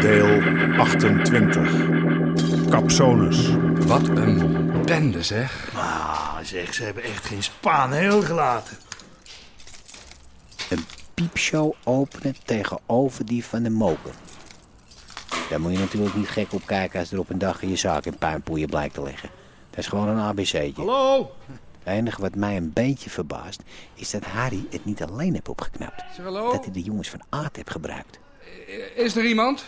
Deel 28. Capsonus. Wat een bende, zeg. Ah, zeg, ze hebben echt geen Spaan heel gelaten. een piepshow openen tegenover die van de moker. Daar moet je natuurlijk niet gek op kijken als er op een dag in je zaak een puinpoeier blijkt te liggen. Dat is gewoon een ABC'tje. Hallo? Het enige wat mij een beetje verbaast is dat Harry het niet alleen heeft opgeknapt. Zeg hallo. Dat hij de jongens van Aard heeft gebruikt. Is er iemand?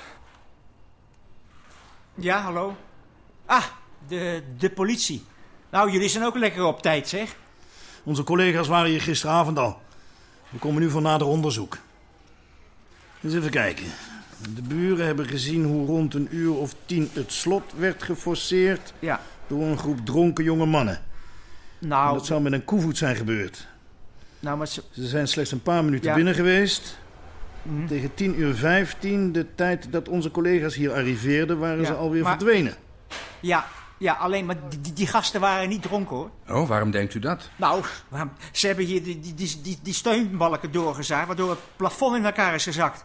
Ja, hallo. Ah, de, de politie. Nou, jullie zijn ook lekker op tijd, zeg. Onze collega's waren hier gisteravond al. We komen nu voor nader onderzoek. Eens even kijken. De buren hebben gezien hoe rond een uur of tien het slot werd geforceerd Ja. door een groep dronken jonge mannen. En Nou, dat zou met een koevoet zijn gebeurd. nou maar ze- Ze zijn slechts een paar minuten Ja. Mhm. binnen geweest. Tegen tien uur vijftien, de tijd dat onze collega's hier arriveerden, waren Ja, ze alweer maar- verdwenen. ja, ja, alleen maar die, die- die gasten waren niet dronken, hoor. Oh, waarom denkt u dat? Nou, waarom- ze hebben hier die, die, die, die, die steunbalken doorgezaagd, waardoor het plafond in elkaar is gezakt.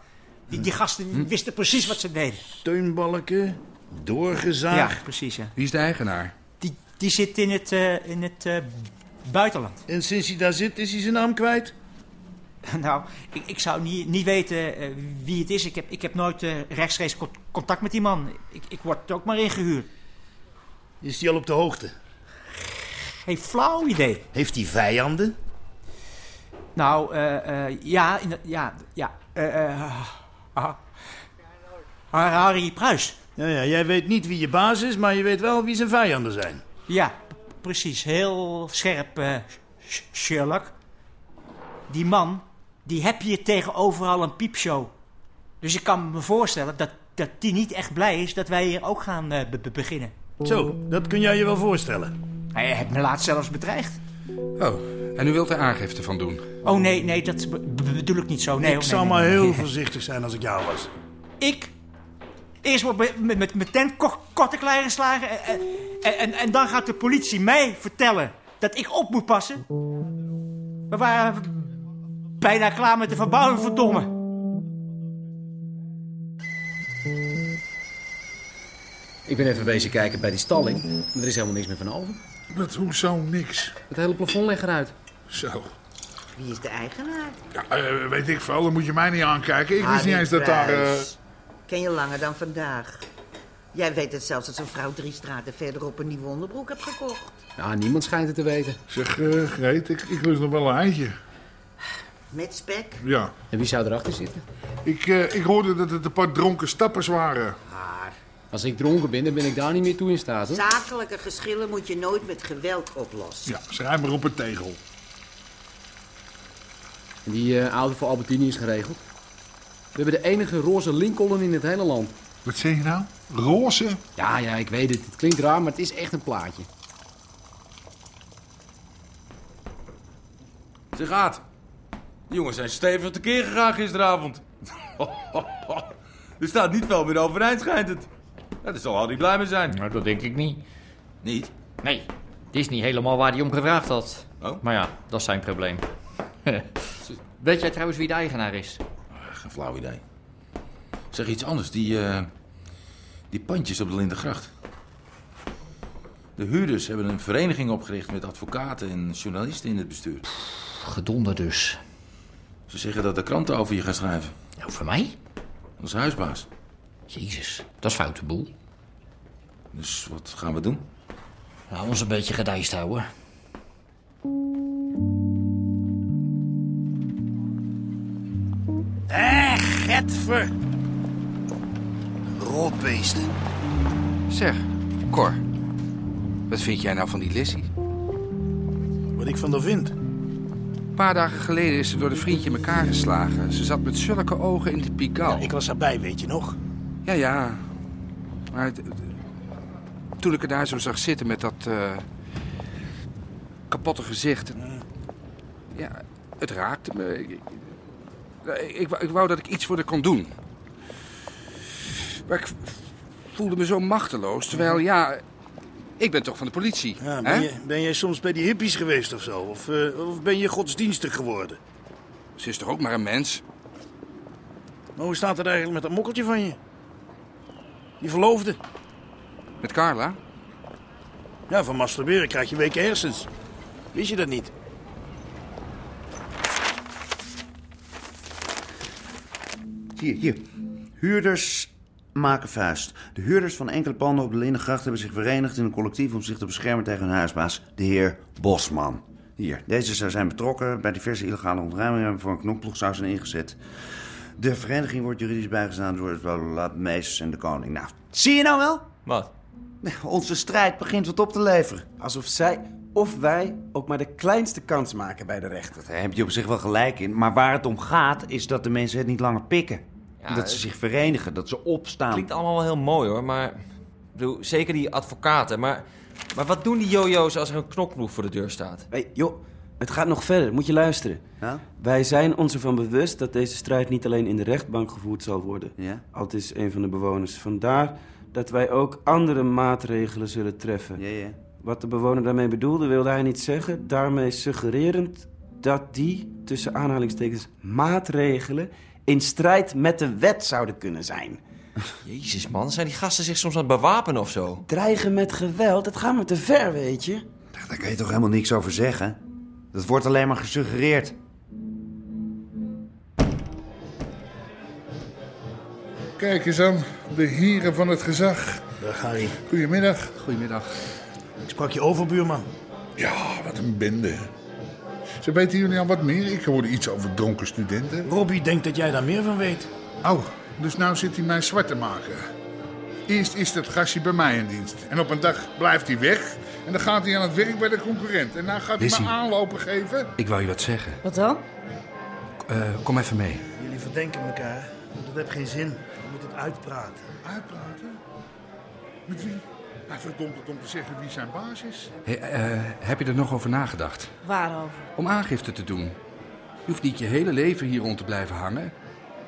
Die, die gasten wisten precies wat ze deden. Steunbalken, doorgezaagd. Ja, precies, ja. Wie is de eigenaar? Die, die zit in het, eh, in het eh, buitenland. En sinds hij daar zit, is hij zijn naam kwijt? nou, ik, ik zou niet, niet weten eh, wie het is. Ik heb, ik heb nooit eh, rechtstreeks con- contact met die man. Ik, ik word ook maar ingehuurd. Is hij al op de hoogte? Geen flauw idee. Heeft hij vijanden? Nou, eh, eh, ja, in, ja, ja. eh, eh, ah, ah, Harry Pruis. Ja, ja, jij weet niet wie je baas is, maar je weet wel wie zijn vijanden zijn. Ja, p- precies. Heel scherp, eh, Sh- Sherlock. Die man, die heb je tegenover al een piepshow. Dus ik kan me voorstellen dat, dat die niet echt blij is dat wij hier ook gaan eh, be- be- beginnen. Zo, dat kun jij je wel voorstellen. Hij heeft me laatst zelfs bedreigd. Oh, en u wilt er aangifte van doen. Oh nee, nee, dat be- be- bedoel ik niet zo. Nee, ik hoor, nee, zou nee, maar nee. heel voorzichtig zijn als ik jou was. Ik? Eerst wordt met, met, met mijn tent ko- korte klei geslagen. En, en, en, en dan gaat de politie mij vertellen dat ik op moet passen. We waren bijna klaar met de verbouwing, verdomme. Ik ben even bezig kijken bij die stalling. maar Er is helemaal niks meer van over. Dat hoezo niks? Het hele plafond ligt eruit. Zo. Wie is de eigenaar? Ja, eh, weet ik veel, dan moet je mij niet aankijken. Ik wist niet eens dat daar... eh, Harry Pruis. Ken je langer dan vandaag. Jij weet het zelfs dat zo'n vrouw drie straten verderop een nieuwe onderbroek hebt gekocht. Nou, niemand schijnt het te weten. Zeg, eh Greet, ik, ik lust nog wel een eindje. Met spek. Ja. En wie zou erachter zitten? Ik, eh, ik hoorde dat het een paar dronken stappers waren. Als ik dronken ben, dan ben ik daar niet meer toe in staat. Hoor. Zakelijke geschillen moet je nooit met geweld oplossen. Ja, schrijf maar op een tegel. Die eh, auto voor Albertini is geregeld. We hebben de enige roze Lincoln in het hele land. Wat zeg je nou? Roze? Ja, ja, ik weet het. Het klinkt raar, maar het is echt een plaatje. Ze gaat. Die jongens zijn stevig tekeer gegaan gisteravond. er staat niet veel meer overeind, schijnt het. Ja, daar zal Harry blij mee zijn. Nou, dat denk ik niet. Niet? Nee, dit is niet helemaal waar hij om gevraagd had. Oh? Maar ja, dat is zijn probleem. Weet jij trouwens wie de eigenaar is? Geen flauw idee. Zeg iets anders. Die, eh, die pandjes op de Lindengracht. De huurders hebben een vereniging opgericht met advocaten en journalisten in het bestuur. Gedonder dus. Ze zeggen dat de kranten over je gaan schrijven. Over Nou, mij? Als huisbaas. Jezus, dat is foute boel. Dus wat gaan we doen? Laten we ons een beetje gedijst houden. Getver! Rotbeesten. Zeg, Cor. Wat vind jij nou van die Lissy? Wat ik van haar vind. Een paar dagen geleden is ze door een vriendje in elkaar geslagen. Ze zat met zulke ogen in de pikal. Ik was daarbij, weet je nog? Ja, ja. Maar het- het- toen ik er daar zo zag zitten met dat eh, kapotte gezicht. eh, Ja, het raakte me. Ik, ik- ik, wou- ik wou dat ik iets voor haar kon doen. Maar ik voelde me zo machteloos. Terwijl, ja, ik ben toch van de politie. Ja, hè? ben, je, ben jij soms bij die hippies geweest of zo? Of, eh, of ben je godsdienstig geworden? Ze is toch ook maar een mens? Maar hoe staat het eigenlijk met dat mokkeltje van je? Je verloofde? Met Carla? Ja, van masturberen krijg je weken hersens. Wist je dat niet? Hier, hier. Huurders maken vuist. De huurders van enkele panden op de Lindengracht hebben zich verenigd in een collectief om zich te beschermen tegen hun huisbaas, de heer Bosman. Hier, deze zou zijn betrokken bij diverse illegale ontruimingen waarvoor een knopploeg zou zijn ingezet. De vereniging wordt juridisch bijgestaan door het blablabla, mees en de koning. Nou, zie je nou wel? Wat? Onze strijd begint wat op te leveren. Alsof zij of wij ook maar de kleinste kans maken bij de rechter. Daar heb je op zich wel gelijk in. Maar waar het om gaat, is dat de mensen het niet langer pikken. dat ze het- zich verenigen, dat ze opstaan. Klinkt allemaal wel heel mooi hoor, maar... Ik bedoel, zeker die advocaten, maar... Maar wat doen die jojo's als er een knokploeg voor de deur staat? Hé, joh, het gaat nog verder. Moet je luisteren. Wij zijn ons ervan bewust dat deze strijd niet alleen in de rechtbank gevoerd zal worden. Ja? Al het is een van de bewoners. Vandaar dat wij ook andere maatregelen zullen treffen. Wat de bewoner daarmee bedoelde, wilde hij niet zeggen. Daarmee suggererend dat die, tussen aanhalingstekens, maatregelen in strijd met de wet zouden kunnen zijn. Jezus man, zijn die gasten zich soms aan het bewapenen of zo? Dreigen met geweld, dat gaat me te ver, weet je. Daar kan je toch helemaal niks over zeggen? Dat wordt alleen maar gesuggereerd. Kijk eens aan, de heren van het gezag. Dag Harry. Goedemiddag. Goedemiddag. Eh, Ik sprak je over, buurman. Ja, wat een bende. Ze weten jullie al wat meer? Ik hoorde iets over dronken studenten. Robbie denkt dat jij daar meer van weet. Oh, dus nou zit hij mij zwart te maken. Eerst is dat gastje bij mij in dienst. En op een dag blijft hij weg. En dan gaat hij aan het werk bij de concurrent. En dan gaat hij Lizzie. me aanlopen geven. Ik wou je wat zeggen. Wat dan? Eh, kom even mee. Jullie verdenken elkaar. Dat heeft geen zin. Je moet het uitpraten. Uitpraten? Met wie? Hij verdomt het om te zeggen wie zijn baas is. Hey, eh, heb je er nog over nagedacht? Waarover? Om aangifte te doen. Je hoeft niet je hele leven hier rond te blijven hangen.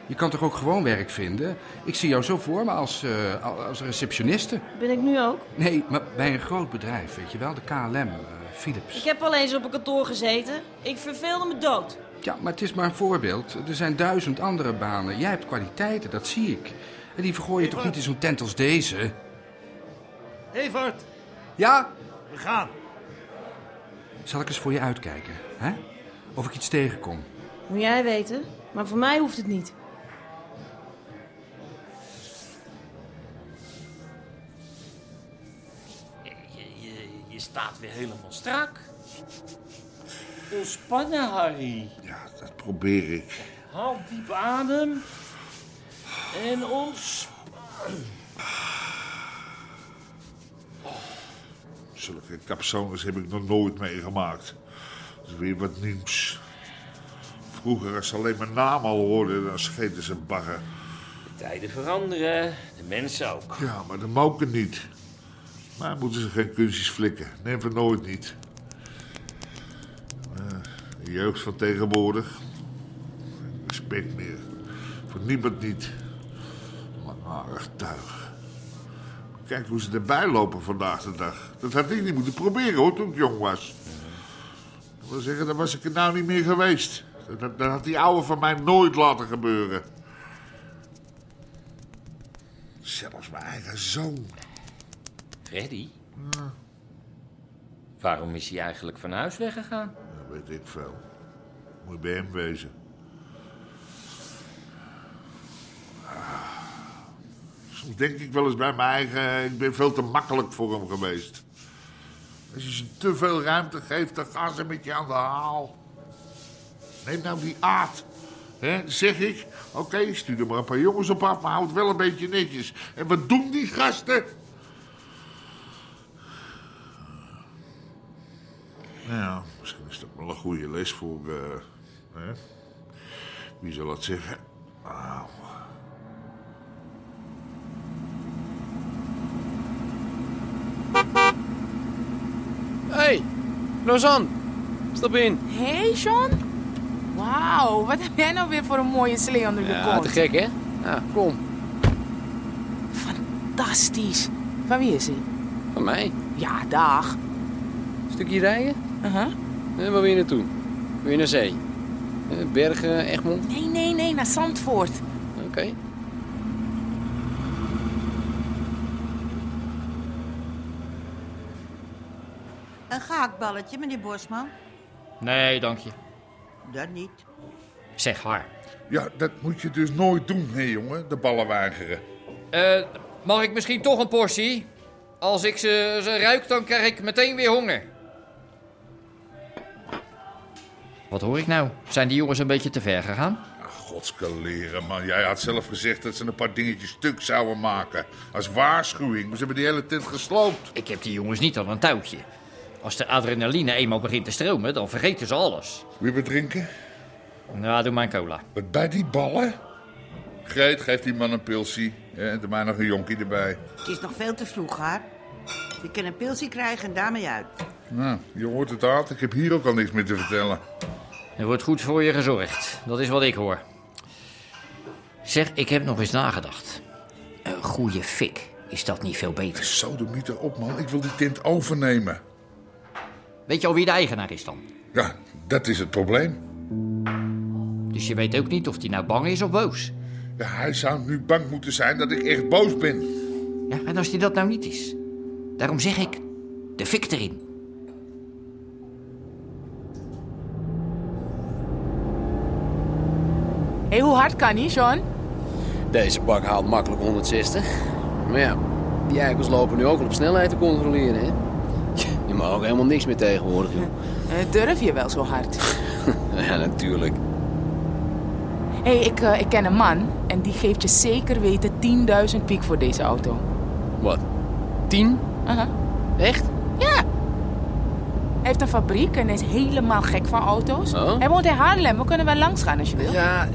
Je kan toch ook gewoon werk vinden? Ik zie jou zo voor me als, eh, al- als receptioniste. Ben ik nu ook? Nee, maar bij een groot bedrijf, weet je wel? De KLM, eh, Philips. Ik heb al eens op een kantoor gezeten. Ik verveelde me dood. Ja, maar het is maar een voorbeeld. Er zijn duizend andere banen. Jij hebt kwaliteiten, dat zie ik. En die vergooi je toch niet in zo'n tent als deze? Evert! Ja? We gaan. Zal ik eens voor je uitkijken, hè? Of ik iets tegenkom. Moet jij weten, maar voor mij hoeft het niet. Je, je, je staat weer helemaal strak. Ontspannen, Harry. Dat probeer ik. Haal diep adem. En ontspannen. Zulke capsones heb ik nog nooit meegemaakt. Dat is weer wat nieuws. Vroeger, als ze alleen mijn naam al hoorden, dan scheten ze bagger. De tijden veranderen, de mensen ook. Ja, maar de moken niet. Maar moeten ze geen kunstjes flikken. Neem van nooit niet. Eh, de jeugd van tegenwoordig. Respect meer. Voor niemand niet. Langharig tuig. Kijk hoe ze erbij lopen vandaag de dag. Dat had ik niet moeten proberen hoor, toen ik jong was. Ik wil zeggen, dan was ik er nou niet meer geweest. Dat- Dat, dat had die ouwe van mij nooit laten gebeuren. Zelfs mijn eigen zoon. Freddy? Waarom is hij eigenlijk van huis weggegaan? Dat weet ik veel. Moet je bij hem wezen. Soms denk ik wel eens bij mijn eigen... Ik ben veel te makkelijk voor hem geweest. Als je ze te veel ruimte geeft, dan gaan ze met je aan de haal. Neem nou die aard. hè? zeg ik, oké, stuur er maar een paar jongens op af, maar houd wel een beetje netjes. En wat doen die gasten? Nou ja, misschien is dat wel een goede les voor. eh, hè? Wie zal dat zeggen? Nou, Hey, Lausanne, stap in. Hey, Sean. Wauw, wat heb jij nou weer voor een mooie slee onder je Ja, kont? te gek hè? Ja, kom. Fantastisch. Van wie is hij? Van mij. Ja, dag. Stukje rijden? Uh-huh. En waar wil je naartoe? Wil je naar zee? Eh, Bergen, Egmond? Nee, nee, nee, naar Zandvoort. Oké. Een gehaktballetje, meneer Bosman? Nee, dank je. Dat niet. Zeg haar. Ja, dat moet je dus nooit doen, hè, jongen, de ballen weigeren. Eh, mag ik misschien toch een portie? Als ik ze, ze ruik, dan krijg ik meteen weer honger. Wat hoor ik nou? Zijn die jongens een beetje te ver gegaan? Ah, Godske leren, man. Jij had zelf gezegd dat ze een paar dingetjes stuk zouden maken. Als waarschuwing. Ze hebben die hele tent gesloopt. Ik heb die jongens niet aan een touwtje. Als de adrenaline eenmaal begint te stromen, dan vergeten ze alles. Wie bedrinken? Nou, doe maar een cola. Bij die ballen? Greet, geef die man een pilsie. hè, En doe mij nog een jonkie erbij. Het is nog veel te vroeg, haar. Je kan een pilsie krijgen en daarmee uit. Nou, je hoort het aan. Ik heb hier ook al niks meer te vertellen. Er wordt goed voor je gezorgd. Dat is wat ik hoor. Zeg, ik heb nog eens nagedacht. Een goede fik. Is dat niet veel beter? Zo, doe niet erop, man. Ik wil die tent overnemen. Weet je al wie de eigenaar is dan? Ja, dat is het probleem. Dus je weet ook niet of die nou bang is of boos? Ja, hij zou nu bang moeten zijn dat ik echt boos ben. Ja, en als die dat nou niet is? Daarom zeg ik, de fik erin. Hé, hoe hard kan hij, Sean? Deze bak haalt makkelijk 160. Maar ja, die eikels lopen nu ook al op snelheid te controleren hè. Je mag ook helemaal niks meer tegenwoordig joh. Eh, durf je wel zo hard? Ja, natuurlijk. Hé, ik, eh, ik ken een man en die geeft je zeker weten 10.000 piek voor deze auto. Wat? Tien? Aha. Echt? Ja. Hij heeft een fabriek en hij is helemaal gek van auto's. Oh. Hij woont in Haarlem, we kunnen wel langs gaan als je wil. Ja,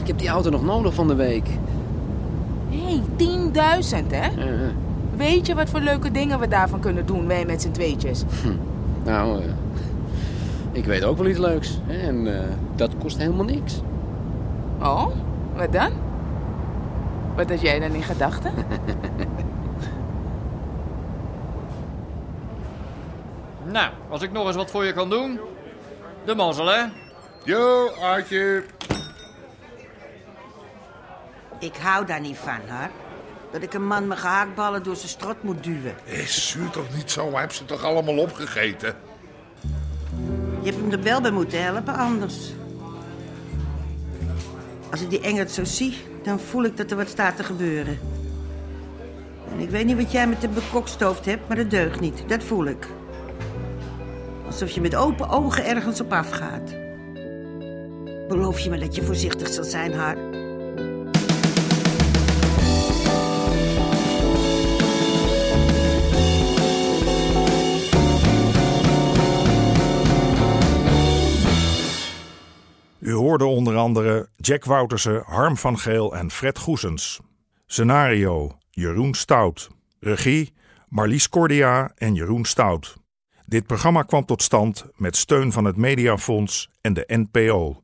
Ik heb die auto nog nodig van de week. Hé, 10.000 hè? Weet je wat voor leuke dingen we daarvan kunnen doen, wij met z'n tweetjes? Hm. Nou, eh, ik weet ook wel iets leuks. hè, En eh, dat kost helemaal niks. Oh, wat dan? Wat had jij dan in gedachten? Nou, als ik nog eens wat voor je kan doen. De mazzel, hè? Yo, Aartje. Ik hou daar niet van, haar. Dat ik een man mijn gehaktballen door zijn strot moet duwen. Hé, zuur toch niet zo? Hij heeft ze toch allemaal opgegeten? Je hebt hem er wel bij moeten helpen, anders. Als ik die Engert zo zie, dan voel ik dat er wat staat te gebeuren. En ik weet niet wat jij met de bekokstoofd hebt, maar dat deugt niet. Dat voel ik. Alsof je met open ogen ergens op afgaat. Beloof je me dat je voorzichtig zal zijn, haar? U hoorde onder andere Jack Woutersen, Harm van Geel en Fred Goesens. Scenario: Jeroen Stout. Regie: Marlies Cordia en Jeroen Stout. Dit programma kwam tot stand met steun van het Mediafonds en de NPO.